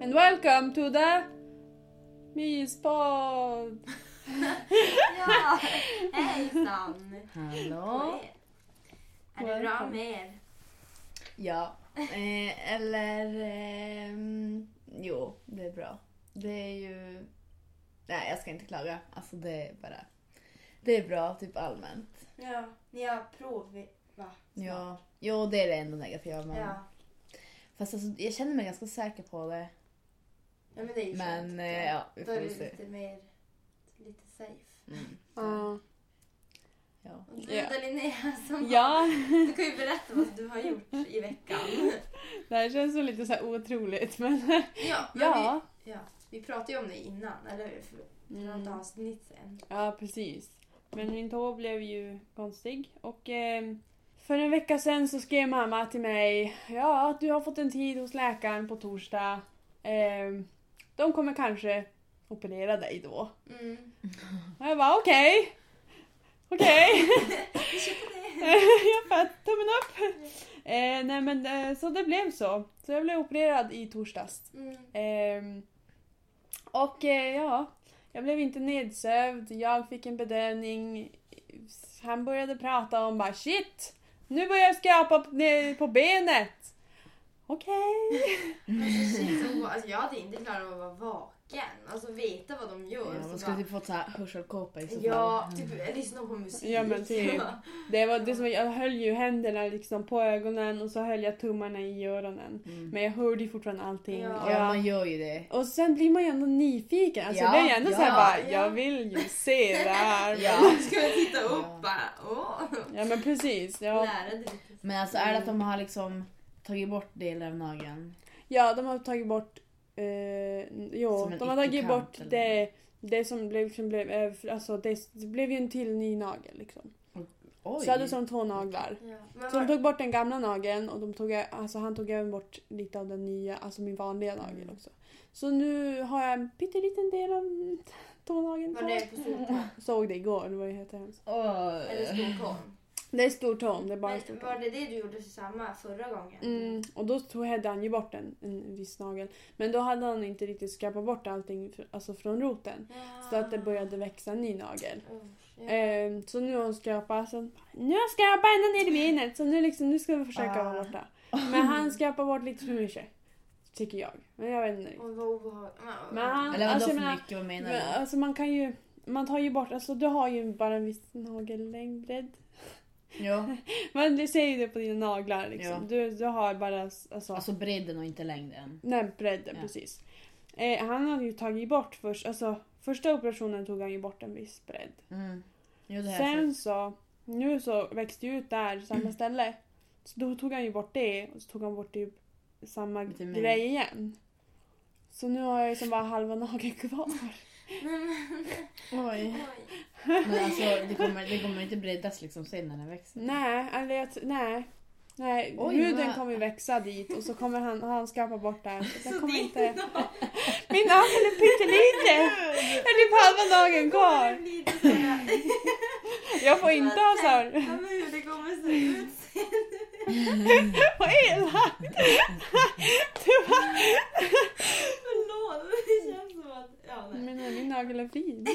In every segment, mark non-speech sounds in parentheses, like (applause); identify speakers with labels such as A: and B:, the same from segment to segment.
A: and welcome to the myspod!
B: (laughs)
C: Ja, hejsan!
B: Hallå?
C: Är det bra
A: Welcome.
C: med er?
B: Ja. Eh, eller... ehm, jo, det är bra. Det är ju... Nej, jag ska inte klaga. Alltså det är bara... Det är bra, typ allmänt.
C: Ja, ni har prov, va?
B: Ja. Jo, det är det enda negativa. Men...
C: Ja,
B: Fast alltså, jag känner mig ganska säker på det.
C: ja men det är ju skönt.
B: Men eh, ja, vi
C: Då
B: får
C: är det
B: väl se.
C: lite mer, lite safe.
B: Mm. Ja.
C: Och du
A: Ja.
C: då Linnea, som
A: Ja,
C: du kan ju berätta vad du har gjort i veckan.
B: (laughs)
A: det här känns så lite så här otroligt (laughs) men
C: Ja, men
A: ja.
C: Vi, ja, vi pratade ju om det innan, eller hur? För för något
A: Mm.
C: avsnitt sen.
A: Ja, precis. Men min tå blev ju konstig och eh, för en vecka sedan så skrev mamma till mig Ja, du har fått en tid hos läkaren på torsdag. Eh, de kommer kanske operera dig då.
C: Mm.
A: Och jag bara okej. Okej. (laughs)
C: Vi köper det.
A: jag bara tummen upp. Eh, nej men eh, så det blev så. Så jag blev opererad i torsdags.
C: Mm.
A: Ehm, och eh, ja, jag blev inte nedsövd. Jag fick en bedövning. Han började prata om bara shit, nu börjar jag skrapa på, ne- på benet. Okej.
C: Alltså,
A: (laughs)
C: shit, så, alltså, jag hade inte klarat av att vara vaken. Alltså veta vad de
B: Ja,
C: gör. så
B: man
C: bara-
B: skulle typ fått så här hörselkåpa i så fall.
C: Ja, typ lyssna på musik.
A: Ja, men typ.
C: Ja.
A: Det var det som jag höll ju händerna liksom på ögonen och så höll jag tummarna i öronen.
B: Mm.
A: Men jag hörde ju fortfarande allting.
C: Ja.
A: Och
B: Ja,
A: jag-
B: man gör ju det.
A: Och sen blir man ju ändå nyfiken. Alltså
B: Ja,
A: jag blir ju ändå
B: ja,
A: såhär bara,
C: ja.
A: jag vill ju se det här.
B: (laughs) Ja.
C: (laughs) Ska jag titta
B: Ja.
C: upp bara? Åh!
A: Ja men precis. Ja.
C: Lära dig lite.
B: Men alltså är det att de har liksom tagit bort delar av nageln?
A: Ja, de har tagit bort... Eh, jo,
B: Som en
A: de har tagit
B: ytterkant,
A: bort
B: eller?
A: det, det som blev... Liksom blev över- alltså, det, det blev ju en till ny nagel. Liksom.
B: Oj!
A: Så jag hade som två naglar.
C: Ja. Men
A: Så de
C: var,
A: tog bort den gamla nageln och de tog, alltså, han tog även bort lite av den nya, alltså min vanliga
B: Mm.
A: nagel också. Så nu har jag en pytteliten del av (laughs) tånageln
C: var det på Storkon?
A: Såg det igår, det var ju helt hemskt.
B: Oj.
C: Eller Storkon?
A: Det är stor tån, det är (laughs) bara en stor
C: Men
A: tå.
C: var det det du gjorde samma förra gången?
A: Mm, och då tog hade han ju bort en, en viss nagel. Men då hade han inte riktigt skrapat bort allting fr- alltså från roten.
C: Ja.
A: Så att det började växa en ny nagel.
C: Usch, ja.
A: Ehm, så nu har hon skrapat. Så nu har jag skrapat ända ner i benet. Så nu, liksom, nu ska vi försöka vara
B: Ah.
A: borta. Men han skrapar bort lite för mycket. Tycker jag. Men jag vet inte. riktigt.
C: Oj, vad obehagligt.
A: Men han,
B: Eller vadå
A: alltså, jag
B: för
A: menar,
B: mycket? Vad menar
A: men,
B: du?
A: alltså man kan ju... Man tar ju bort, alltså du har ju bara en viss nagellängd, bredd.
B: Ja,
A: Men du ser ju det på dina naglar liksom.
B: Ja.
A: Du, du har bara alltså,
B: alltså bredden och inte längden.
A: Nej, bredden,
B: Ja.
A: precis. Eh, han hade ju tagit bort först, alltså första operationen tog han ju bort en viss bredd.
B: Mm. Jo, det här är
A: Sen så, nu så växte ju ut där, samma ställe. Så då tog han ju bort det och så tog han bort typ samma
B: Lite mer.
A: grej igen. Så nu har jag ju som bara halva
B: (laughs)
A: nageln kvar.
B: Oj.
C: (laughs) Oj.
B: Men alltså det kommer, det kommer inte breddas liksom sen när den växer.
A: nej, eller jag, t- nej. Nej,
B: Oj,
A: huden
B: vad-
A: kommer ju växa dit och så kommer han, han skrapa
B: (laughs)
A: bort där. Så
C: Så
A: jag kommer
C: din
A: inte...
C: dag
A: Min nagel är typ
B: (laughs)
A: pytteliten! Det är typ (laughs) halva nageln
C: kommer
A: kvar.
C: bli lite så här-
A: Jag får inte ha såhär...
C: Ja, men hur det kommer se
A: (laughs)
C: ut sen.
A: Vad elakt!
C: Förlåt, men det känns som att... Ja, nej.
A: Men min nagel är
B: (laughs)
A: fin.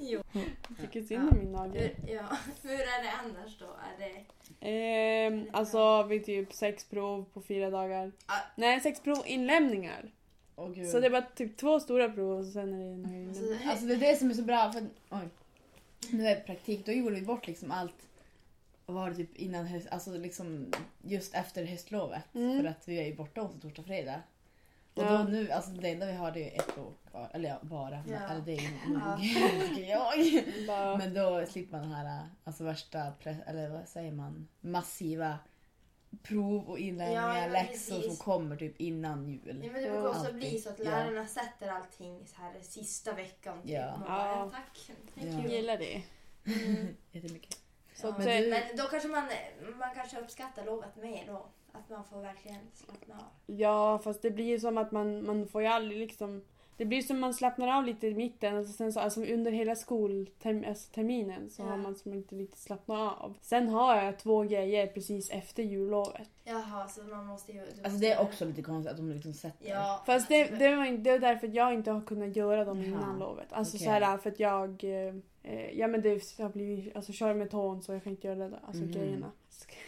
C: Jo.
A: Jag tycker synd om min
B: Eh,
A: nagel.
C: Hur, ja. (laughs) hur är det annars då? Är det...
A: Ehm, alltså vi typ sex prov på fyra dagar.
C: Ah.
A: Nej, sex prov inlämningar.
B: Åh, gud.
A: Så det var typ två stora prov och sen är det
C: Alltså,
A: nagelinlämning.
B: Alltså det är det som är så bra. För, oj. Nu är det praktik, då gjorde vi bort liksom allt. Vad Var det typ innan höst, alltså liksom just efter höstlovet.
A: Mm.
B: För att vi är ju borta också torsdag, fredag. Och
A: Ja.
B: då nu, alltså det enda vi har det är ju ett prov kvar. Eller ja, bara. men-
C: Ja.
B: Eller det är
C: (laughs)
B: ju
C: Ja.
B: (laughs) nog, tycker jag.
A: Bara,
B: Men då slipper man den här alltså värsta, press, eller vad säger man, massiva prov och inlärningar,
C: Ja, ja,
B: läxor som
C: precis.
B: kommer typ innan
C: Ja,
B: jul.
C: men det brukar också
B: Alltid.
C: bli så att
B: Ja.
C: lärarna sätter allting så här sista veckan. Typ.
B: Ja.
C: Man
A: Ja.
C: Bara, ja. Tack. Tack
B: Ja.
A: jag
C: you."
A: gillar det.
C: Mm.
B: Jättemycket.
A: Så
C: Ja.
A: att,
C: men,
B: Men du-
C: då kanske man, man kanske uppskattar lovet mer då. Att man får verkligen slappna av.
A: Ja, fast det blir ju som att man, man får ju aldrig liksom Det blir som man slappnar av lite i mitten och sen så, alltså under hela skolterminen alltså terminen, så
C: Ja.
A: har man som inte riktigt slappnat av. Sen har jag två grejer precis efter jullovet.
C: Jaha, så man måste ju... du
B: Alltså det är
C: måste-
B: också lite konstigt att de liksom sätter.
C: Ja.
A: Fast det, det, var, in- det var därför att jag inte har kunnat göra dem
B: Jaha.
A: innan lovet. Alltså
B: Okej.
A: så här för att jag... eh, eh, Ja men det har blivit... Alltså kör med tån så jag kan inte göra det där. Alltså
B: Mhm.
A: grejerna.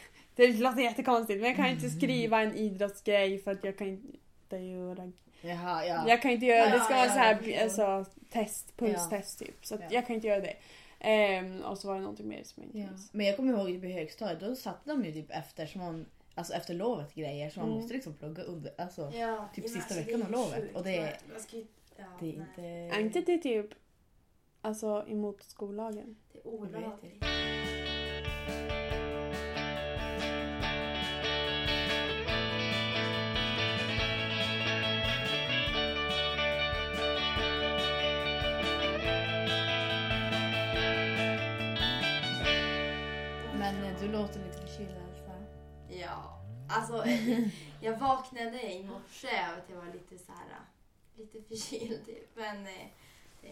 A: (laughs) Det låter jättekonstigt men jag kan inte skriva en idrottsgrej för att jag kan inte göra...
B: Jaha, ja.
A: Jag kan inte göra...
C: Ja,
A: det ska
C: ja,
A: vara
C: ja,
A: så här,
C: jag förstår.
A: alltså test, pulstest typ. Så att
B: Ja.
A: jag kan inte göra det. Ehm, och så var det någonting mer som jag inte
B: Ja.
A: minns.
B: Men jag kommer ihåg typ i högstadiet, då satte de ju typ efter, som man, alltså efter lovet grejer som man
A: Mm.
B: måste liksom plugga under. Alltså,
C: Ja,
B: Typ
C: men
B: sista
C: alltså, det är
B: veckan av
C: ju
B: lovet,
C: sjukt.
B: och det är-
C: Man ska ju- ja,
B: det är
C: nej.
B: inte...
A: Är inte det typ... Alltså emot skollagen?
C: Det är olagligt.
B: Men eh, du låter lite förkyld Alfa.
C: Ja. Alltså, (laughs) jag vaknade i morse av att jag var lite så här, lite förkyld typ. Men eh,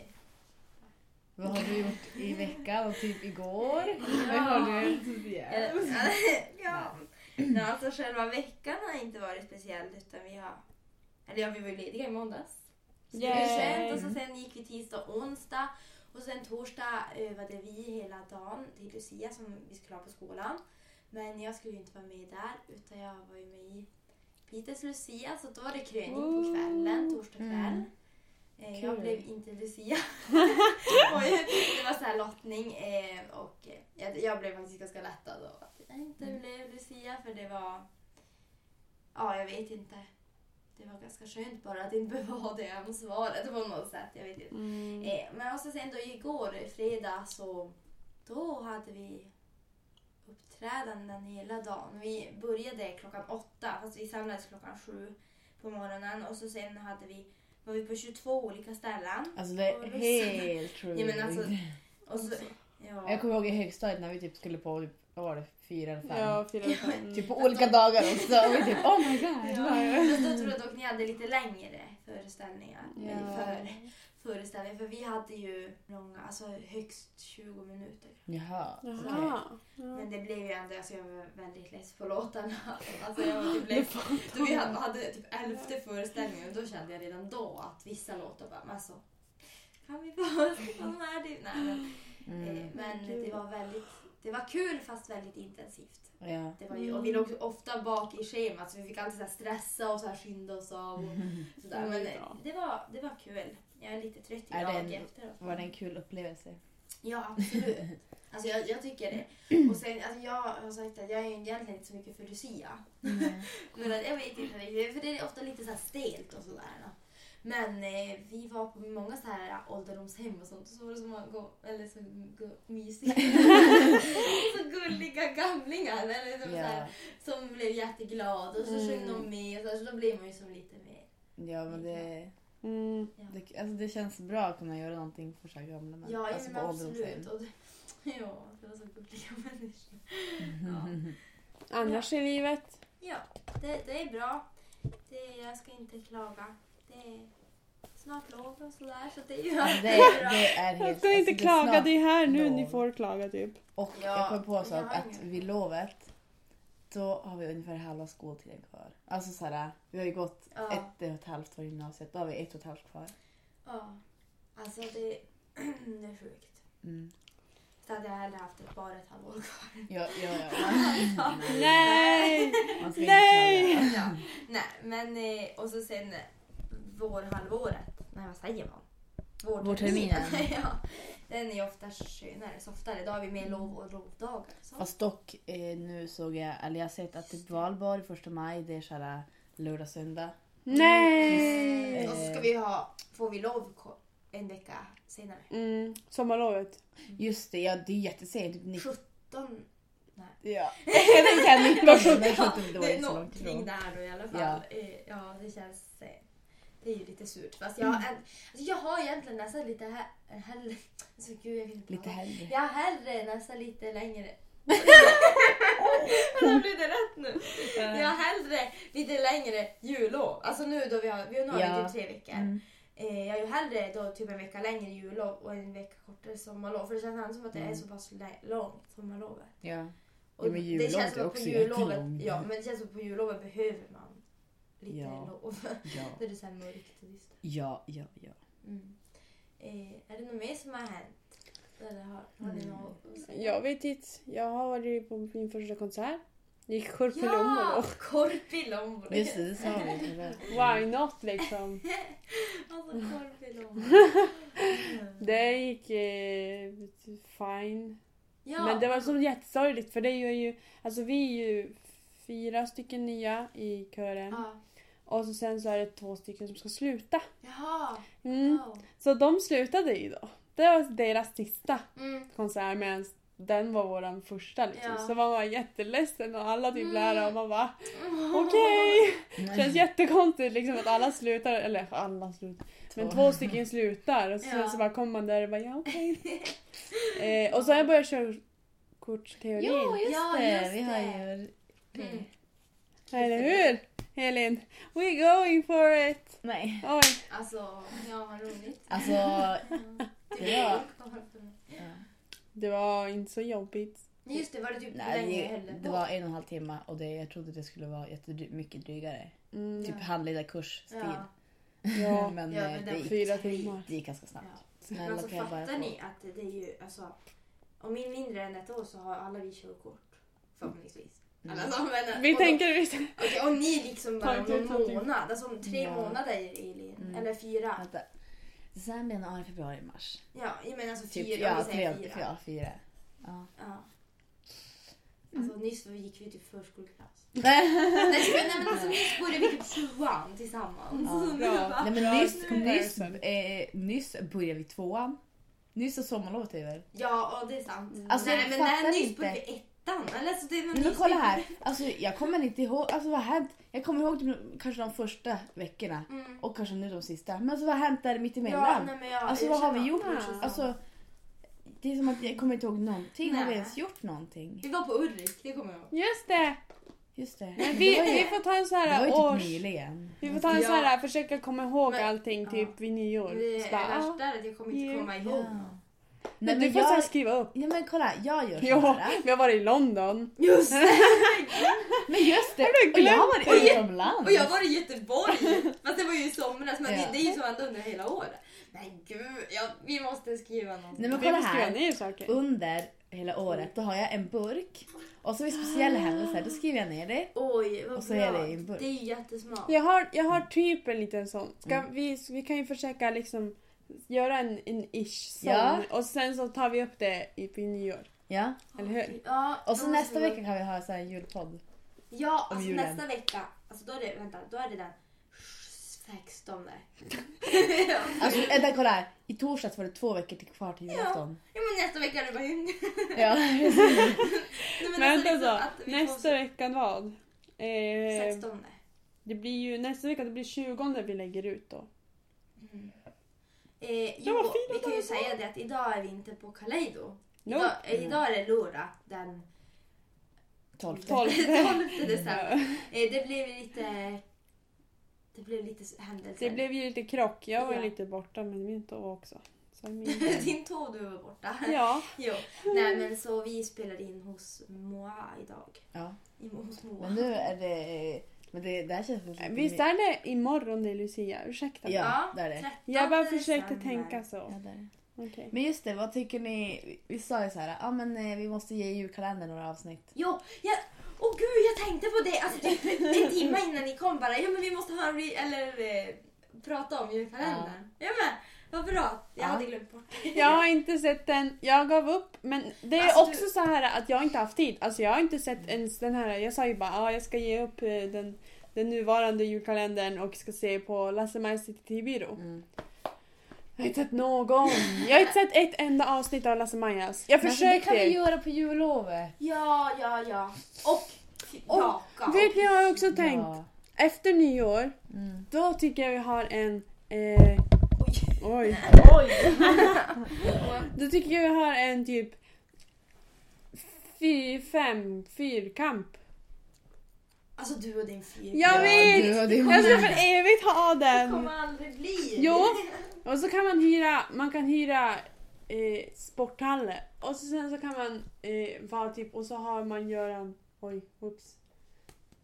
B: Vad har du gjort i veckan och typ igår?
C: Ja.
B: Vad har du gjort?
C: (laughs) ja. Nej, alltså själva veckan har inte varit speciell utan vi har... Eller ja, vi var ju lediga i måndags. Så det alltså.
A: Yay.
C: var skönt. Och så sen gick vi tisdag och onsdag. Och sen torsdag övade vi hela dagen till Lucia som vi skulle ha på skolan. Men jag skulle ju inte vara med där utan jag var ju med i Peters Lucia så då var det kröning på
A: Ooh.
C: kvällen, torsdag kväll.
B: Mm.
C: Eh, Jag
B: Kul.
C: blev inte Lucia. och jag, det var så här lottning eh, och eh, jag, jag blev faktiskt ganska lättad av att jag inte blev Lucia för det var... Ja, jag vet inte. Det var ganska skönt bara att inte behöva ha det ansvaret på något sätt. Jag vet inte.
A: Mm.
C: Eh, men också sen då igår, fredag, så då hade vi uppträdanden hela dagen. Vi började klockan åtta, fast vi samlades klockan sju på morgonen och så sen hade vi, var vi på 22 olika ställen.
B: Alltså det
C: Och
B: är
C: russin.
B: helt sjukt.
C: Ja, men alltså, Och så, ja.
B: Jag kommer ihåg i högstadiet när vi typ skulle på, typ, vad var det, fyra eller fem?
A: Ja, fyra fem.
B: Typ på olika dagar också. Och vi typ oh my god.
C: Ja, fast då tror jag dock ni hade lite längre föreställningar.
B: Ja.
C: Eller För, föreställningar. För vi hade ju långa, alltså högst 20 minuter.
B: Jaha.
A: Jaha. Ja.
C: Men det blev ju ändå, alltså jag var väldigt less på låtarna. (laughs) Alltså jag var typ less. Då vi hade, hade typ elfte föreställningen och då kände jag redan då att vissa låtar bara, men alltså kan vi bara (laughs) slippa de här? Det- Nej, men, eh,
B: Mm.
C: men det var väldigt, det var kul fast väldigt intensivt.
B: Mm, Ja.
C: Det var ju, och vi låg ofta bak i schemat så vi fick alltid så här stressa och så här skynda oss av.
B: (laughs)
C: Och sådär. Men eh, det var, det var kul. Jag är lite trött
B: Är
C: idag
B: det en-
C: efteråt.
B: Var det en kul upplevelse?
C: Ja,
B: (laughs)
C: absolut. Alltså jag, jag tycker
B: Mm.
C: det. Och sen, alltså jag har sagt att jag är ju egentligen inte så mycket för Lucia. (laughs) Men att jag vet inte riktigt, för det är ofta lite så här stelt och sådär. Men eh, vi var på många så här ålderdomshem och sånt och så var det så många go- eller så go-
B: (laughs)
C: mysiga, (laughs) så gulliga gamlingar eller som, så
B: Ja.
C: här, som blev jätteglada och så sjöng de
A: Mm.
C: med och så, här, så då blir man ju som lite mer...
B: ja men det,
A: Mm.
B: det, alltså det känns bra att kunna göra någonting för så här gamla män.
C: Ja,
B: alltså
C: men absolut.
B: ålderdomshem.
C: Och det, (laughs) ja, det var så gulliga (laughs) människor.
B: Mm.
C: Ja.
A: Annars i livet?
C: Ja, det, det är bra. Det, jag ska inte klaga. Det är snart lov och sådär, så det är ju (laughs)
B: Det,
C: alltid bra.
B: det är helt...
A: Jag ska inte
B: alltså, det är
A: klaga,
B: snart-
A: det är här nu
B: lov.
A: ni får klaga typ.
B: Och
C: Ja,
B: jag kom på så
C: jag
B: att,
C: har
B: att
C: ingen.
B: vid lovet då har vi ungefär halva skoltiden kvar. Alltså såhär, vi har ju gått
C: Ja.
B: ett och ett halvt år i gymnasiet, då har vi ett och ett halvt kvar.
C: Ja. Alltså, (clears throat) det, det är sjukt.
B: Mm.
C: Så hade jag hellre haft ett, bara
B: (laughs)
C: ett halvår kvar.
B: Ja, ja,
C: (laughs)
B: ja.
A: Nej!
B: Man ska inte
A: Nej!
B: klaga.
C: ja. Nej, men eh, och så sen eh, vårhalvåret. Nej, vad säger man?
B: Vårterminen.
C: (laughs) ja. Den är ju ofta skönare, softare. Då har vi mer lov och lovdagar. Så.
B: Fast dock, eh, nu såg jag, eller jag har sett att typ valborg första maj, det är såhär lördag, söndag.
A: Nej!
C: Och så
B: eh,
C: ska vi ha, får vi lov ko- en vecka senare.
A: Mm, sommarlovet.
C: Mm.
B: Just det, ja det är jättesent, typ 19.
C: 17,
B: Ja. Jag tänkte säga 19, men 17 då är
C: det
B: det
C: är
B: så långt
C: något kring
B: ifrån.
C: där då i alla fall. Eh, Ja, det känns... eh, Det är ju lite surt. Fast jag,
B: Mm.
C: har en- alltså jag har egentligen nästan lite he- hellre... Alltså gud, jag vill inte
B: Lite
C: prata.
B: hellre.
C: Jag har hellre nästan
B: (laughs)
C: lite längre... Eller blev det rätt nu? Jag har hellre lite längre jullov. Alltså nu då vi har, vi har nu har vi
B: Ja.
C: typ tre veckor.
B: Mm.
C: Eh, jag är ju hellre då typ en vecka längre jullov och en vecka kortare sommarlov. För det känns ändå som att det är
B: Mm.
C: så pass lä- långt sommarlovet.
B: Ja.
C: Och
B: Ja, men jullovet
C: det känns
B: är
C: som att på
B: också
C: jullovet,
B: jättelångt.
C: ja, men det känns som att på jullovet behöver man lite
B: Ja.
C: lov. (laughs)
B: Ja.
C: När det är så här mörkt och dystert.
B: Ja, ja, ja.
C: Mm. Eh, är det något mer som har hänt? Eller har, har
B: Mm.
C: ni något att säga?
A: Jag vet inte. Jag har varit på min första konsert. Gick Korpilombolo.
C: Ja! Korpilombolo!
B: Just det, det sa vi. eller?
A: Why not liksom?
C: (laughs)
B: (laughs)
C: Alltså korpilombolo. Mm.
A: Det gick eh, fine.
C: Ja,
A: Men det var så jättesorgligt för det är ju, alltså vi är ju fyra stycken nya i kören.
C: Ja.
A: Och så sen så är det två stycken som ska sluta.
C: Jaha!
A: Mm.
C: wow.
A: Så de slutade ju då. Det var deras sista
C: Mm.
A: konsert medan den var våran första liksom.
C: Ja.
A: Så man var jätteledsen och alla typ lärare och man bara
B: Mm. (laughs)
A: okej.
C: Okej!
A: Känns jättekonstigt liksom att alla slutar, eller alla slutar, men två stycken slutar och sen
C: Ja.
A: så bara kommer man där och bara ja okej. eh, och så har jag börjat köra kortteorin.
B: Ja, just
C: Ja,
B: det.
C: just
B: vi har
C: det.
B: ju...
C: Mm.
A: Eller hur Elin? We going for it!
B: Nej.
A: Oj,
C: Alltså, ja vad
B: (laughs)
C: roligt. (laughs)
B: Alltså,
C: Mm.
B: Ja. ja.
A: det var inte så jobbigt.
C: Just det, var det typ
B: Nej,
C: längre
B: det,
C: heller?
B: det var en och en halv timme och det, jag trodde det skulle vara jättedry- mycket drygare.
A: Mm,
B: Typ handledarkursstil.
C: Ja.
B: (laughs)
A: ja,
B: Men,
C: Ja,
B: eh,
C: men det
B: det,
C: var-
B: gick,
A: fyra timmar.
B: det gick ganska snabbt.
C: Ja. Men
B: Snälla
C: alltså
B: kan jag bara
C: fattar
B: få-
C: ni att det är ju alltså om min mindre än ett år så har alla vi körkort. Förhoppningsvis.
B: Mm.
C: Alla som vänner.
A: Vi
C: och, då-
A: tänker vi
C: Okej, och ni liksom bara om
A: Tanken,
C: någon
A: tanken.
C: månad. Alltså om tre
B: Ja.
C: månader Elin.
B: Mm.
C: Eller fyra.
B: Vänta. Sen januari, februari, mars.
C: Ja, jag menar alltså fyra.
B: Typ,
C: om vi
B: ja,
C: säger
B: tre,
C: fyra.
B: ja, fyra. (laughs) Ja.
C: Ja.
A: Mm.
C: Alltså nyss gick vi typ förskoleklass. (laughs) nej, men- nej men alltså nyss började vi typ sjuan tillsammans.
B: Ja.
C: Så nu
A: Bra.
C: bara-
B: Nej
A: Bra
B: men nyss, nyss,
A: comparison.
B: eh, nyss började vi tvåan. Nyss har sommarlovet över.
C: Ja, och det är sant.
B: Alltså,
C: nej
B: jag
C: men nej,
B: fattar
C: nyss
B: inte.
C: började vi ettan. Eller alltså det var
B: Men
C: nyss
B: kolla
C: vi-
B: här. Alltså, jag kommer inte ihåg. Alltså, vad har hänt? Jag kommer ihåg de, kanske de första veckorna.
C: Mm.
B: Och kanske nu de sista. Men alltså, vad har hänt där
C: Ja,
B: mittemellan?
C: nej, men jag,
B: alltså
C: jag
B: vad har vi
C: känner-
B: gjort?
C: jag känner-
B: Alltså, det är som att jag kommer inte ihåg någonting. Har vi
C: Nej.
B: ens gjort någonting?
C: Vi var på Ulrik, det kommer jag ihåg.
A: Just det!
B: Just det.
A: Men
B: det
A: vi,
B: var ju,
A: vi får ta en så
B: det var
A: här
B: ju
A: års...
B: typ nyligen.
A: Vi får ta en så här,
C: Ja.
A: försöka komma ihåg
C: Men-
A: allting typ
C: Ja.
A: vid nyår.
C: Det
A: Så
C: är
A: bara,
C: värsta
A: ah,
C: är att jag kommer inte
A: Ja.
C: komma ihåg.
B: Ja. Nej,
A: men du
B: men
A: får så här
B: jag,
A: skriva upp.
B: nej men kolla, jag gör så
A: Ja,
B: här.
A: vi har varit i London.
B: (laughs)
C: Just det!
B: Men just det,
A: Har du
B: och jag har
A: glömt
B: varit
A: det?
B: utomlands.
C: Och jag var i Göteborg! Fast det var ju i somras, men
B: Ja.
C: det, det är ju så ändå under hela året. Men gud, ja, vi måste skriva någonting.
B: Nej, men
A: Vi
B: kolla
A: får skriva
B: här.
A: ner saker.
B: Under hela året då har jag en burk och så vid speciella händelser då skriver jag ner det.
C: Oj, vad
B: Och så
C: bra.
B: är det i en burk.
C: Det är ju jättesmart.
A: Jag har, jag har typ en liten sån. Ska
B: Mm.
A: vi, vi kan ju försöka liksom göra en, en ish sån.
B: Ja.
A: Och sen så tar vi upp det i, på nyår.
B: Ja.
A: Eller hur?
C: Ja, då
B: Och så
C: måste
B: nästa
C: vi-
B: vecka kan vi ha så här en julpodd.
C: Ja,
B: om
C: alltså
B: julen.
C: nästa vecka. Alltså då är det, vänta, då är det den
B: (laughs)
C: 16.
B: Alltså vänta kolla här. I torsdags var det två veckor till kvar till (laughs) julafton.
C: Ja men nästa vecka är det bara... Nej,
B: Ja.
C: men
A: Men
C: nästa
A: vänta
C: vecka
A: så.
C: att vi
A: Nästa vecka vad? Eh,
C: får 16.
A: det blir ju nästa vecka, det blir 20 vi lägger ut då.
C: Mm. Eh,
A: Det
C: jo,
A: var fint
C: vi kan
A: att det Mm.
C: ju
A: var
C: säga det att idag är vi inte på Kaleido.
A: No.
C: Idag, eh, idag är det Lora
A: (laughs)
C: den
B: Tolfte.
C: (laughs)
A: 12.
C: 12 december. Eh, det blev lite... Det blev lite händelser.
A: Det
C: (laughs)
A: blev ju lite krock. Jag var ju
C: Ja.
A: lite borta men min tå var också. Så min...
B: (laughs)
C: Din tå du var borta.
A: Ja.
C: (laughs) Jo. Nej men så vi spelar in hos Moa idag.
B: Ja.
C: I, hos Moa.
B: Men nu är det... Men det, det här känns som... lite
A: Visst
B: mer-
A: är det imorgon det är Lucia? Ursäkta.
B: Ja. där är det.
C: 13
A: Jag bara försökte
C: december.
A: tänka
B: Ja,
A: så.
B: där är det. (laughs)
A: Okej.
B: Men just det, vad tycker ni? Vi- Vi sa ju så här, ah, men eh, vi måste ge julkalendern några avsnitt.
C: Jo, jag, åh gud jag tänkte på det. Alltså typ en timme innan ni kom bara. Ja men vi måste ha en re, eller eh, prata om julkalendern. Ja. men vad bra. Jag
B: Ja.
C: hade glömt bort det.
A: Jag har inte sett den. Jag gav upp. Men det är
C: Alltså,
A: också så här att jag inte haft tid. Alltså jag har inte sett ens den här. Jag sa ju bara ah, jag ska ge upp eh, den, den nuvarande julkalendern och ska se på Lasse-Majs TV-byrå.
B: Mm.
A: Jag har inte sett någon. Jag har inte sett ett enda avsnitt av Lasse-Majas. Jag
B: Men alltså, det
A: försökte.
B: kan vi göra på jullovet.
C: Ja, ja, ja. Och
A: Och
C: baka.
A: Vet ni vad jag också tänkt?
B: Ja.
A: Efter nyår,
B: Mm.
A: då tycker jag vi har en... Eh,
C: Oj.
A: oj. Då tycker jag vi har en typ... Fy, fem fyrkamp.
C: Alltså du och din fyr.
A: Jag
B: Ja,
A: vet!
B: du och din
A: Jag ska
B: mamma.
A: för evigt ha
C: Det
A: den!
C: kommer aldrig bli.
A: Jo! Och så kan man hyra, man kan hyra eh, sporthalle. Och så sen så kan man eh, vara typ, och så har man Göran, oj, whoops.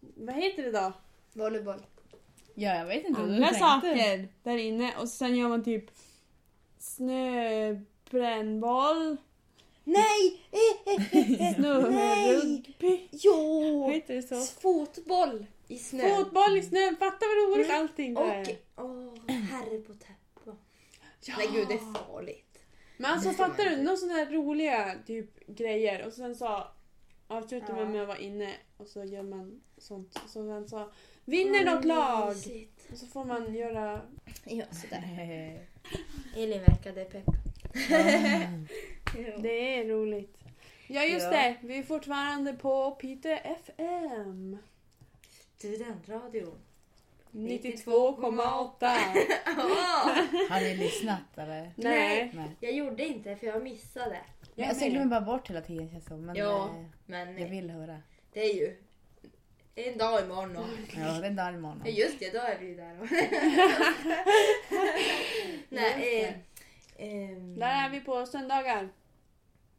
A: Vad heter det då?
C: Volleyboll.
B: Ja, jag vet inte vad du
A: Andra
B: tänkte.
A: saker där inne. Och sen gör man typ snöbrännboll,
C: Nej! (laughs) Eh, eh, eh, eh.
A: snörugby.
C: Jo!
A: Heter det så?
C: Fotboll i snö.
A: Fotboll i snö, fatta vad roligt
C: Mm.
A: allting
C: och
A: där.
C: åh, herre på täppa.
A: Ja.
C: Nej gud, det är farligt.
A: Men alltså
C: Det får man
A: fattar du?
C: inte.
A: Några sådana här roliga typ grejer och sen så avslutar
C: Ja.
A: man med att vara inne och så gör man sånt. Så sen så vinner något lag!
C: Mysigt.
A: Och så får man göra...
C: Ja, sådär.
B: Hehehe.
C: Elin verkade pepp. (laughs) Jo.
A: Det är roligt. Ja just
C: Ja.
A: det, vi är fortfarande på Piteå FM.
C: Studentradion.
A: 92,8.
C: Ja.
B: (laughs) Har ni lyssnat eller?
A: Nej.
B: Nej.
C: jag gjorde inte för jag missade.
A: Jag
B: Jag,
A: är
B: alltså,
A: med.
B: jag glömmer bara bort hela tiden känns det som. Men
C: Ja.
B: eh,
C: Men
B: jag vill höra.
C: det är ju en dag imorgon. Och...
B: Ja, den dagen imorgon.
C: Ja, just det, då är vi ju där.
A: (laughs)
C: Nej, eh, ehm,
A: Där är vi på söndagar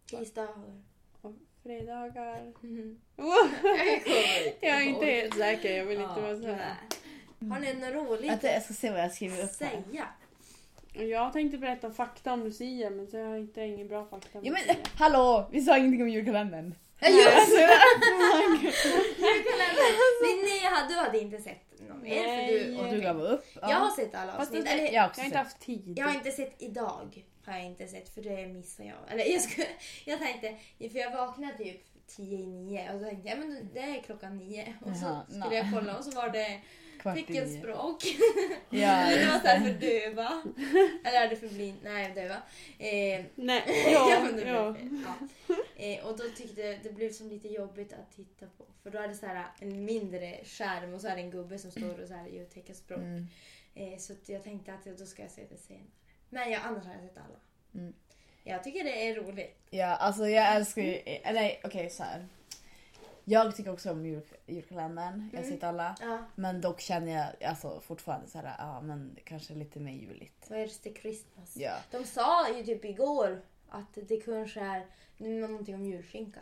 C: Tisdagar.
A: och fredagar.
C: Mhm.
A: Wow.
C: Jag kommer inte
A: Jag är
C: ihåg.
A: inte helt säker, jag vill inte vara
C: Ja,
A: sån.
C: nej. Har ni något roligt
B: Vänta, eh, jag ska se vad jag skriver
C: att
B: upp här.
C: säga?
A: Och Jag tänkte berätta fakta om Lucia men så har jag inte ingen bra fakta om
B: Ja, men
A: Lucia.
B: hallå! Vi sa ingenting om julkalendern.
C: Ja, just
B: Alltså,
C: Linnea, du hade inte sett någon mer. För du...
A: Nej.
B: och du gav upp. Ja.
C: Jag har sett alla
A: Fast
C: avsnitt.
A: det-
C: Eller,
B: jag har
A: Jag
B: också
A: har inte haft tid.
C: jag har
B: Typ-
C: inte sett idag. Har jag inte sett för det missar jag. Eller jag, skulle, (laughs) jag tänkte, för jag vaknade typ tio i nio och så tänkte jag men det är klockan nio. Och så
B: Jaha,
C: skulle
B: nej.
C: jag kolla och så var det
B: sett (laughs) Kvart i nio. (laughs)
C: teckenspråk.
B: Ja,
C: (laughs) det var
B: just
C: såhär
B: det.
C: för
B: (laughs)
C: döva. Eller är det för blind? Nej, döva. (laughs) Eh,
A: Nej,
C: jag
A: ja,
C: undrar
A: ja.
C: varför. Ja. Eh, och då tyckte jag det blev som lite jobbigt att titta på. För då är det så här en mindre skärm och så är det en gubbe som står och så här gör teckenspråk.
B: Mm.
C: Eh, så att jag tänkte att då ska jag se det senare. Men jag, annars har jag sett alla.
B: Mm.
C: Jag tycker det är roligt.
B: Ja, alltså jag älskar ju... Eller okej, så här. Jag tycker också om jul, julkalendern.
A: Mm.
B: Jag har sett alla.
C: Ja.
B: Men dock känner jag alltså, fortfarande så här, ja men kanske lite mer juligt.
C: Where's the Christmas?
B: Ja.
C: De sa ju typ igår att det kanske är någonting om julskinka.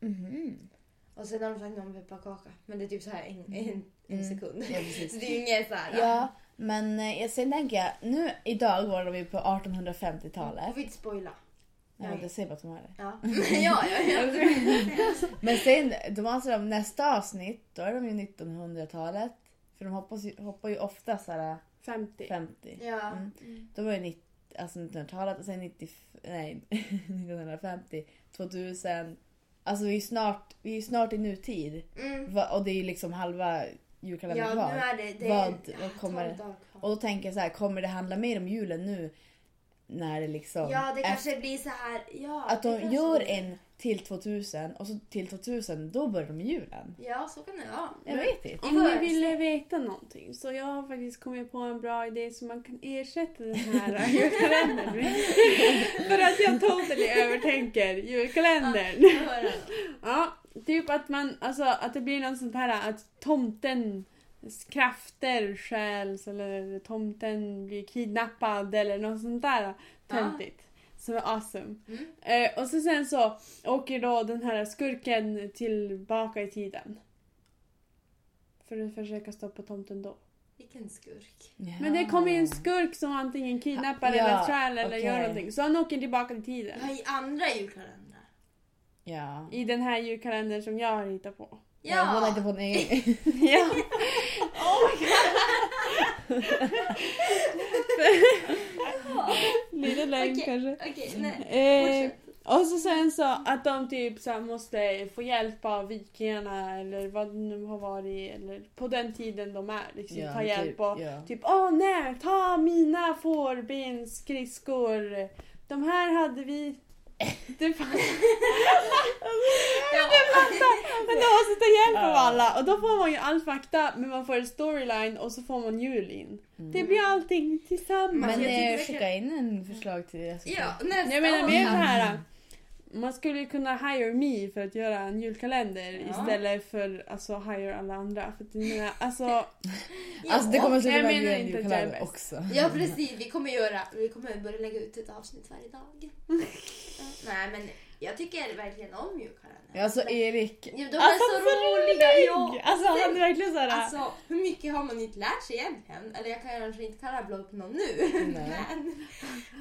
A: Mm-hmm.
B: Mhm.
C: Och sen har de sagt något om pepparkaka. Men det är typ så här en, en, en
B: Mm.
C: sekund.
B: Ja, precis.
C: (laughs) Så det är ju inget så här.
B: Ja, men eh, sen tänker jag, nu idag var vi på 1850-talet.
C: Du får inte spoila.
B: Ja, det ser bara som här. (laughs)
C: Ja. (laughs) ja, ja, ja.
B: Men sen, de anser om nästa avsnitt, då är de ju 1900-talet. För de hoppas ju, hoppar ju ofta så här
A: 50.
B: 50.
C: (laughs) ja.
B: Mm. Då var det 90, alltså 1900-talet och sen 90, nej, (laughs) 1950, 2000. Alltså vi är ju snart, vi är ju snart i nutid.
C: Mm.
B: Va, och det är ju liksom halva
C: Ja,
B: julkalendern
C: nu
B: kvar.
C: är det... det
B: Vad- vad kommer det?
C: det?
B: Och då tänker jag så här, kommer det handla mer om julen nu? När det liksom...
C: Ja, det
B: efter-
C: kanske blir så här... Ja,
B: Att
C: det
B: de
C: kanske
B: gör
C: blir-
B: en till 2000 och så till 2000 då börjar de med julen.
C: Ja, så kan det vara.
B: Jag vet inte.
A: Om ni
C: Först.
A: ville veta någonting så jag har faktiskt kommit på en bra idé som man kan ersätta den här (laughs)
C: (laughs)
A: julkalendern med. För att jag totally övertänker julkalendern.
C: Jag hör det.
A: Ja, typ att man, alltså att det blir någon sånt här att tomtens krafter stjäls eller tomten blir kidnappad eller något sånt där töntigt. Som är awesome.
C: Mm.
A: Eh, och så sen så åker då den här skurken tillbaka i tiden. För att försöka stoppa tomten då.
C: Vilken skurk.
A: Men det kommer ju en skurk som antingen kidnappar
B: Ja,
A: eller stjäl eller
B: okej.
A: gör någonting. Så han åker tillbaka i tiden.
C: Ja, i andra julkalendrar.
B: Ja.
A: I den här julkalendern som jag har hittat på.
C: Ja!
B: Jag håller inte på nej.
A: Ja. (laughs) Lite lögn
C: Okej.
A: kanske.
C: Okej, nej.
A: Eh,
C: Fortsätt.
A: och så sen så att de typ så här måste få hjälp av vikingarna eller vad det nu har varit eller på den tiden de är. Liksom,
B: Ja,
A: ta hjälp
B: typ,
A: och
B: ja.
A: typ åh nej, ta mina fårbensskridskor. De här hade vi... Du fattar.
C: Ja.
A: Men de måste ta hjälp av alla och då får man ju all fakta men man får en storyline och så får man Julin. Det blir allting tillsammans.
C: Men
B: Men
C: jag
B: eh,
C: tycker
B: skicka
C: verkligen-
B: in en förslag till SVT.
C: Ja, nästa
A: Jag menar mer
C: år.
A: så här. Man skulle ju kunna hire me för att göra en julkalender
C: Ja.
A: istället för alltså hire alla andra. För att, jag menar,
C: (laughs)
A: alltså,
B: Alltså det kommer
A: jag
B: säkert att
A: menar
B: bli en
A: inte att jag är
B: julkalender
A: bäst.
B: också.
C: Ja precis, vi kommer göra, vi kommer börja lägga ut ett avsnitt varje dag. Ja, Nej men jag tycker verkligen om julkalendern.
B: Ja, Alltså Erik.
C: Ja, de
A: alltså,
C: är så
A: för
C: roliga!
A: rolig!
C: Ja.
A: Alltså han är verkligen såhär...
C: Alltså hur mycket har man inte lärt sig egentligen? Eller jag kan kanske inte kan rabbla upp någon nu.
B: Nej.
C: (laughs)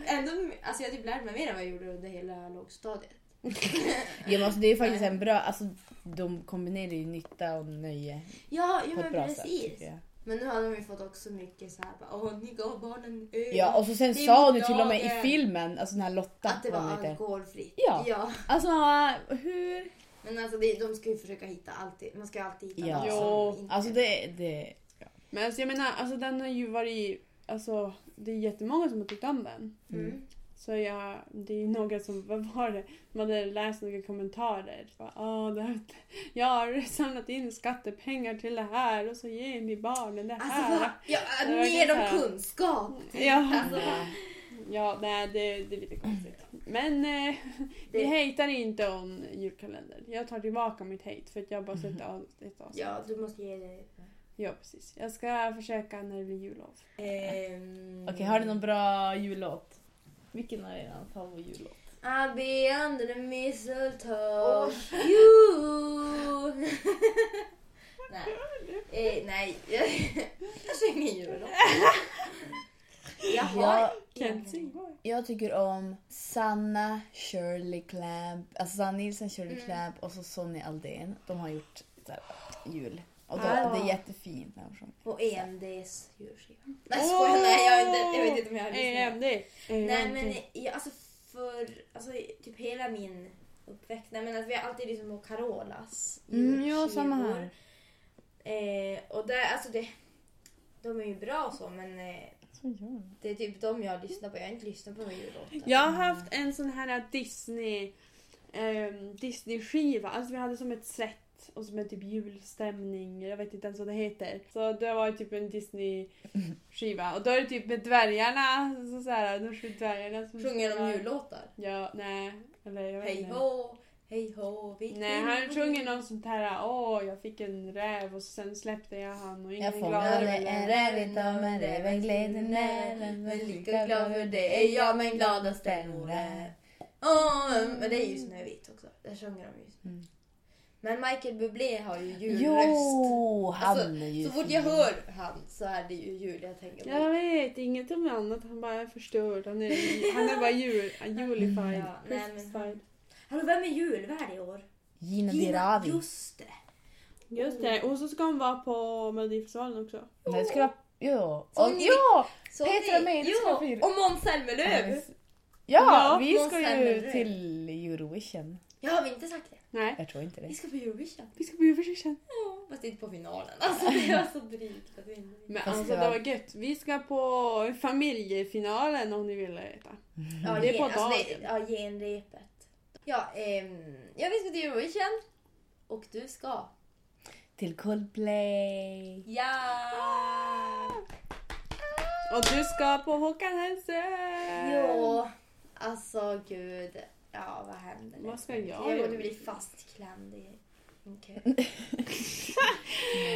C: Men ändå, alltså jag har typ lärt mig mer än vad jag gjorde under hela lågstadiet.
B: Ja, men alltså, det är faktiskt en bra, alltså de kombinerar ju nytta och nöje
C: Ja, ja
B: på ett
C: men
B: bra
C: precis.
B: sätt. tycker jag.
C: Men nu har de ju fått också mycket såhär bara åh ni gav barnen öl.
B: Ja och så sen
C: Det är
B: sa
C: mot
B: hon ju till och med i
C: lagen.
B: filmen, alltså den här Lotta.
C: att det var
B: vad hon heter.
C: alkoholfritt.
B: Ja. Alltså hur?
C: Men alltså det, de ska ju försöka hitta alltid, man ska ju alltid hitta
B: Ja.
C: någon
A: Jo.
C: som inte-
B: Alltså det, det
A: Men alltså, jag menar, alltså, den har ju varit... Alltså, det är jättemånga som har tyckt om den.
C: Mm.
A: Så jag, det är ju några som, vad var det? Man hade läst några kommentarer. Bara, "Åh, det här, jag har samlat in skattepengar till det här och så ger ni barnen det
C: Alltså
A: här.
C: vad, ja,
A: Det var
C: mer om
A: ganska-
C: kunskap.
A: ja,
C: Alltså,
A: ja nej, det, det är lite konstigt. Men eh, vi
C: Det-
A: hatar inte om julkalender. Jag tar tillbaka mitt hate för att jag har bara sett av ett avsnitt.
C: Mhm. ja, du måste ge det.
A: ja, precis. Jag ska försöka när det blir jullov.
C: Ehm,
B: Okej, har du någon bra jullåt? Vilken är er favoritjullåt?
C: I'll be under the mistletoe. You. (laughs) nej. Eh, nej. jag sjunger jullåt. Jag har...
B: Jag,
A: Kent
C: Mm.
A: Singborg.
B: jag tycker om Sanna, Shirley Clamp, alltså Sanna Nilsson, Shirley
C: Mm.
B: Clamp och så Sonny Aldén. De har gjort så här, jul. Och då,
C: Ah.
B: det är jättefint när de sjunger.
C: Och EMDs julskiva. Nej skojar, nej jag, har inte, jag vet inte om jag har lyssnat.
A: EMD. EMD.
C: Nej men jag, alltså för alltså, typ hela min uppväxt, nej men att vi har alltid lyssnat på Carolas
B: Mm, ja,
C: julskivor.
B: samma här.
C: Eh, och det, alltså det, de är ju bra och så men eh, det är typ de jag lyssnar på, jag har inte lyssnat på några jullåtar.
A: Jag har haft en sån här Disney ehm, Disney-skiva. Alltså vi hade som ett set och som en typ julstämning. Jag vet inte ens vad det heter. Så det var typ en Disney-skiva. Och då är det typ med dvärgarna. Så så här, de sju dvärgarna. Som
C: Sjunger de jullåtar?
A: Ja, nej. Eller jag vet
C: Hej
A: inte.
C: hå, hej hå, vi
A: Nej, han sjunger någon sånt här åh jag fick en räv och sen släppte jag han och ingen
B: Jag
A: gladare
B: fångade
A: blev jag."
B: en räv idag men räven gled i näven.
C: Men lika glad för det är jag men gladast är nog räv. Åh, men det är ju Snövit också. Där sjunger de ju.
B: Mm.
C: Men Michael Bublé har ju julröst.
B: Jo, han
C: Alltså,
B: är ju
C: Så fort
B: fin.
C: jag hör han så är det ju jul jag tänker på.
A: Jag vet inget om annat, han bara är förstörd. Han är, han är bara jul, julified.
C: Ja, nej, men-
A: Christmasfied.
C: Hallå, vem är julvärd i år?
B: Gina
C: Gina-
B: Dirawi.
C: Just det.
A: Just det, och så ska hon vara på Melodifestivalen också.
B: Nej, det skulle vara... Jo!
C: Så
B: Och,
C: ni-
B: ja!
C: Så
B: Petra
C: vi-
B: Mede ska
C: Jo,
B: fira.
C: och Måns Zelmerlöw.
B: Ja,
A: Ja,
B: vi
C: någon
B: ska ju
C: stämmer.
B: till Eurovision.
C: Jag har vi inte sagt det.
A: Nej.
B: Jag tror inte
C: Vi
B: det.
C: ska på Eurovision.
A: Vi ska på Eurovision.
C: Ja, Fast inte på finalen. (laughs) Alltså det var så drygt att vi inte fick.
A: Men
B: Fast
A: alltså
B: det
A: det
B: var-
A: var gött. Vi ska på familjefinalen om ni vill veta.
C: Ja,
A: Det är på
C: gen- alltså det-
A: dagen.
C: Ja, genrepet. Ja, ehm, ja, vi ska till Eurovision. Och du ska.
B: Till Coldplay.
C: Ja!
A: Ah! Och du ska på Håkan Hellström!
C: Jo, alltså gud. Ja, vad händer nu?
A: Vad ska jag
C: Jag
A: göra?
C: kommer bli fastklämd i... Okej.
A: (laughs)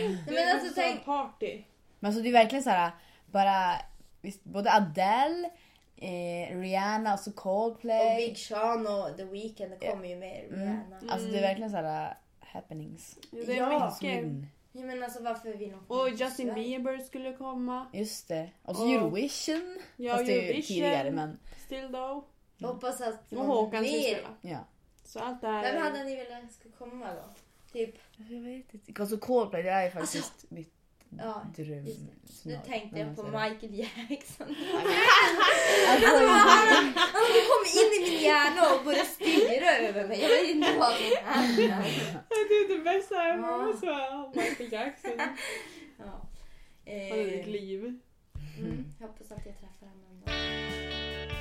C: Nej, men alltså tänk...
A: Party.
B: Men alltså det är verkligen så här, bara visst, både Adele, eh, Rihanna och så
A: Eh,
C: Och
B: Coldplay.
C: Big Sean och The Weeknd kommer ju med Rihanna.
B: Mm. Alltså det är verkligen så här äh, happenings.
A: Det är
C: Ja.
A: mycket.
B: Mm.
C: Ja, men alltså varför vill de komma
A: Och
C: till Sverige?
A: Justin Bieber skulle komma.
B: Just det. Och så
A: Och-
B: Eurovision.
A: Ja,
B: Fast det är ju
A: Eurovision.
B: tidigare men
A: Still though.
C: Jag Hoppas att
A: Och Håkan ska
C: mer.
A: spela.
B: ja.
A: Så allt det här...
C: Vem hade ni velat ska komma då? Typ,
B: Jag vet inte. Alltså Coldplay det är faktiskt mitt
C: ja.
B: dröm.
C: just Nu
B: scenario.
C: tänkte
B: Ja,
C: jag på
B: Mm, så är det.
C: Michael
B: (laughs)
C: Jackson.
B: Alltså,
C: Han kom in i min hjärna och började styra över mig. Jag vet inte vad som hände.
A: Det är det bästa
C: Ja.
A: ever! Ja. Michael
B: (laughs)
A: Jackson. Han
C: Ja.
A: hade ett
C: Eh,
A: liv.
C: mm, jag hoppas att jag träffar honom en dag.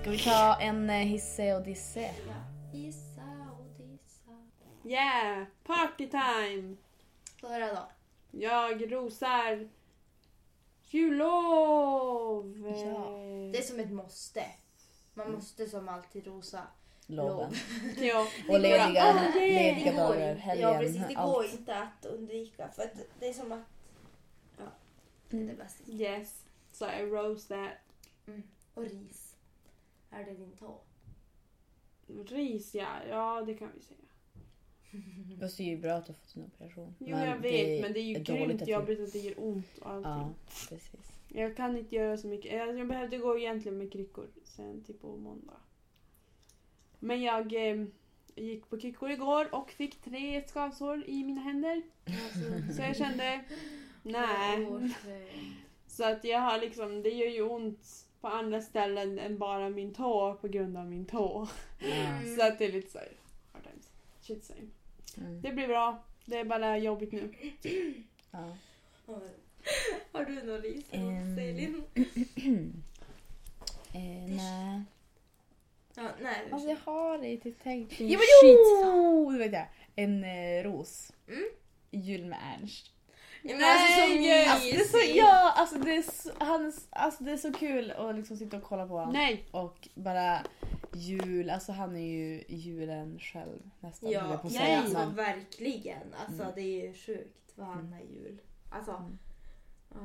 B: ska vi ta en eh, hisse och disse?
C: Ja. Hissa och dissa.
A: Yeah! Partytime!
C: Få höra då.
A: Jag rosar jullov! Eh,
C: Ja, Det är
A: det
C: som ett måste. Man
B: Mm.
C: måste som alltid rosa.
B: Loven.
A: (laughs) ja.
B: Och
A: (laughs)
B: lediga,
A: Ah, det-
B: lediga
C: Det går
B: dagar,
C: inte.
B: helgen.
C: Ja precis, det går
B: allt.
C: inte att undvika. För att det är som att... Ja, det är det bästa.
A: Yes. So I rose that.
C: Och ris. Är det din tå?
A: Ris ja, ja det kan vi säga.
B: Fast det är ju bra att du har fått en operation.
A: Jo jag vet men det är ju grymt jobbigt att det gör ont och allting.
B: Ja, precis.
A: Jag kan inte göra så mycket. Jag, jag behövde gå egentligen med kryckor sen typ på måndag. Men jag eh, gick på kryckor igår och fick tre skavsår i mina händer.
C: Alltså,
B: (laughs)
A: Så
C: (laughs)
A: jag kände, nej. Så att jag har liksom, det gör ju ont på andra ställen än bara min tå på grund av min tå.
B: Ja.
C: Mm.
A: Så att det är lite såhär, hard times. Shit same.
B: Mm.
A: Det blir bra. Det är bara jobbigt nu.
B: Ja.
C: Har du någon ris?
B: Ehm.
C: Selin?
B: Eh, nej.
C: Ja, nej.
B: Alltså jag har inte tänkt
D: Ja, men
B: jo! Du vet jag. En eh, ros.
C: Mm.
B: Jul med Ernst.
C: Ja, men alltså som
A: Nej,
B: Alltså, det är så,
C: mysigt.
B: ja, alltså det är så, han, alltså det är så kul att liksom sitta och kolla på honom.
A: Nej!
B: Och bara jul, alltså han är ju julen själv nästan. höll
C: Ja,
B: jag på att
C: ja
B: säga.
C: alltså,
B: Men-
C: verkligen. Alltså
B: Mm.
C: det är ju sjukt vad han har jul. Alltså.
B: Mm.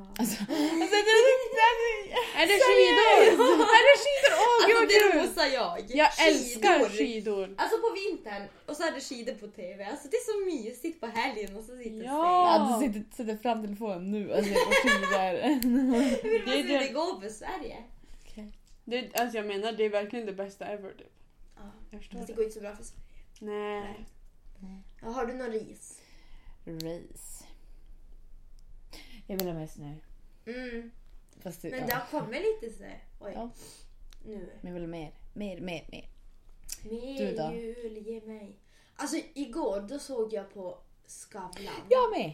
C: ja.
B: Alltså, alltså, det är- det
C: (laughs)
B: är-
A: Är det skidor?
B: Är det skidor? Åh
C: Alltså
B: gud
C: det
B: vad kul!
C: rosar jag.
A: Jag
C: Skidor.
A: älskar skidor!
C: Alltså på vintern och så är det skidor på TV. Alltså det är så mysigt på helgen och så sitter
A: Ja.
B: (laughs) Ja, du sitter, sätter fram telefonen nu alltså jag är på skidor.
C: Selin. (laughs) Hur
A: Det är
C: vill man
A: det-
C: det gå för Sverige?
A: Det, alltså jag menar, det är verkligen det bästa ever typ.
C: Ja.
A: Jag förstår
C: Fast det
A: det.
C: går inte så bra för Sverige.
A: Nej.
C: Ja, har du någon ris?
B: Race. Jag vill ha med snö.
C: Mm.
B: Fast det,
C: Men
B: ja.
C: det har kommit lite snö. Oj.
B: Ja.
C: Nu.
B: Men jag vill ha mer. Mer, mer, mer. Du
C: Mer
B: då?
C: jul, ge mig. Alltså igår då såg jag på Skavlan.
B: Jag med!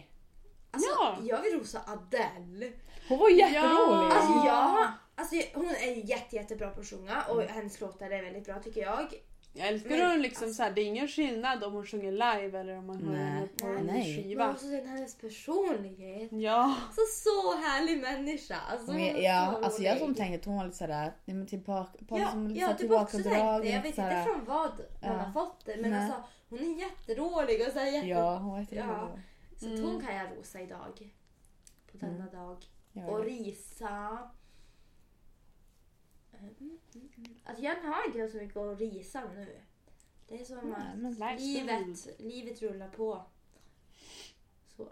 C: Alltså,
A: Ja.
C: Jag vill rosa Adele.
B: Hon var jätterolig!
A: Ja.
C: Alltså, jag, alltså, hon är jätte, jättebra på att sjunga och
A: Mm.
C: hennes låtar är väldigt bra tycker jag.
A: Jag älskar
C: Men-
A: hur hon liksom såhär, det är ingen skillnad om hon sjunger live eller om man hör
B: Nej.
A: henne på en
B: Nej.
C: Men
A: skiva.
C: också sen hennes personlighet.
A: Ja.
C: Alltså så härlig människa. Alltså,
B: Men,
C: hon
B: jag-
C: är
B: ja,
C: så
B: alltså jag
C: rolig.
B: som tänkte att hon var lite sådär, nej men tillbaka, på
C: Ja,
B: som lite
C: ja
B: såhär
C: typ också tänkte jag.
B: tillbakadragen.
C: Jag vet inte
B: såhär.
C: från vad man
B: Ja.
C: har fått det men
B: Nej.
C: alltså hon är jätterolig och så, här jätte...
B: Ja, hon var jätterolig.
C: Ja. så att hon
A: Mm.
C: kan jag rosa idag. På denna dag.
B: Mm. Ja.
C: Och risa. Mm, mm, mm. Alltså jag har inte så mycket att risa nu. Det är som att
B: Nej, men
A: Life's good.
C: Livet, livet rullar på. Så.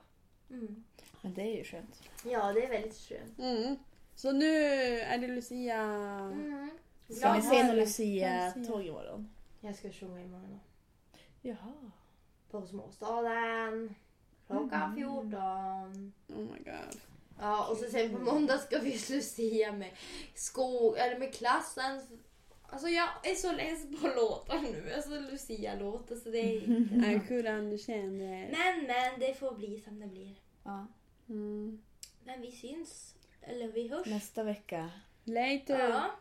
C: Mm.
B: Men det är ju skönt.
C: Ja, det är väldigt skönt.
A: Mm. Så nu är det Lucia.
C: Mm.
B: Ska
C: Jag
B: ni
C: har-
B: se någon Lucia-tåg
A: Lucia.
B: imorgon?
C: Jag ska sjunga imorgon
B: Jaha.
C: på Småstaden. Klockan
A: Mm.
C: 14.
A: Oh my god.
C: Ja, och så sen på måndag ska vi Lucia med skog, eller med klassen. Alltså jag är så less på låtar nu. Alltså Lucia-låtar så det är...
A: (laughs) Jag kunde underkänna det.
C: Men men, det får bli som det blir.
B: Ja.
A: Mm.
C: Men vi syns, eller vi hörs.
B: Nästa vecka,
A: Later.
C: Ja.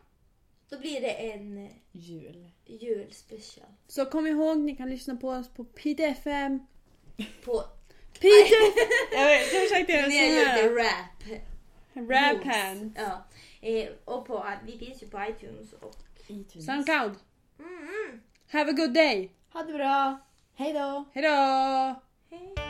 C: Då blir det en eh,
B: jul.
C: julspecial.
A: Så kom ihåg, ni kan lyssna på oss på (laughs) PDFM.
C: På...
A: PDFM! jag vet, jag försökte göra
C: Ni har
A: sån
C: gjort en rap.
A: här. Rap hand.
C: Ja. Eh, och på, vi finns ju på iTunes och...
A: Soundcloud.
C: Mm, mm.
A: Have a good day.
B: Ha det bra! Hej då!
A: Hejdå!
C: Hej.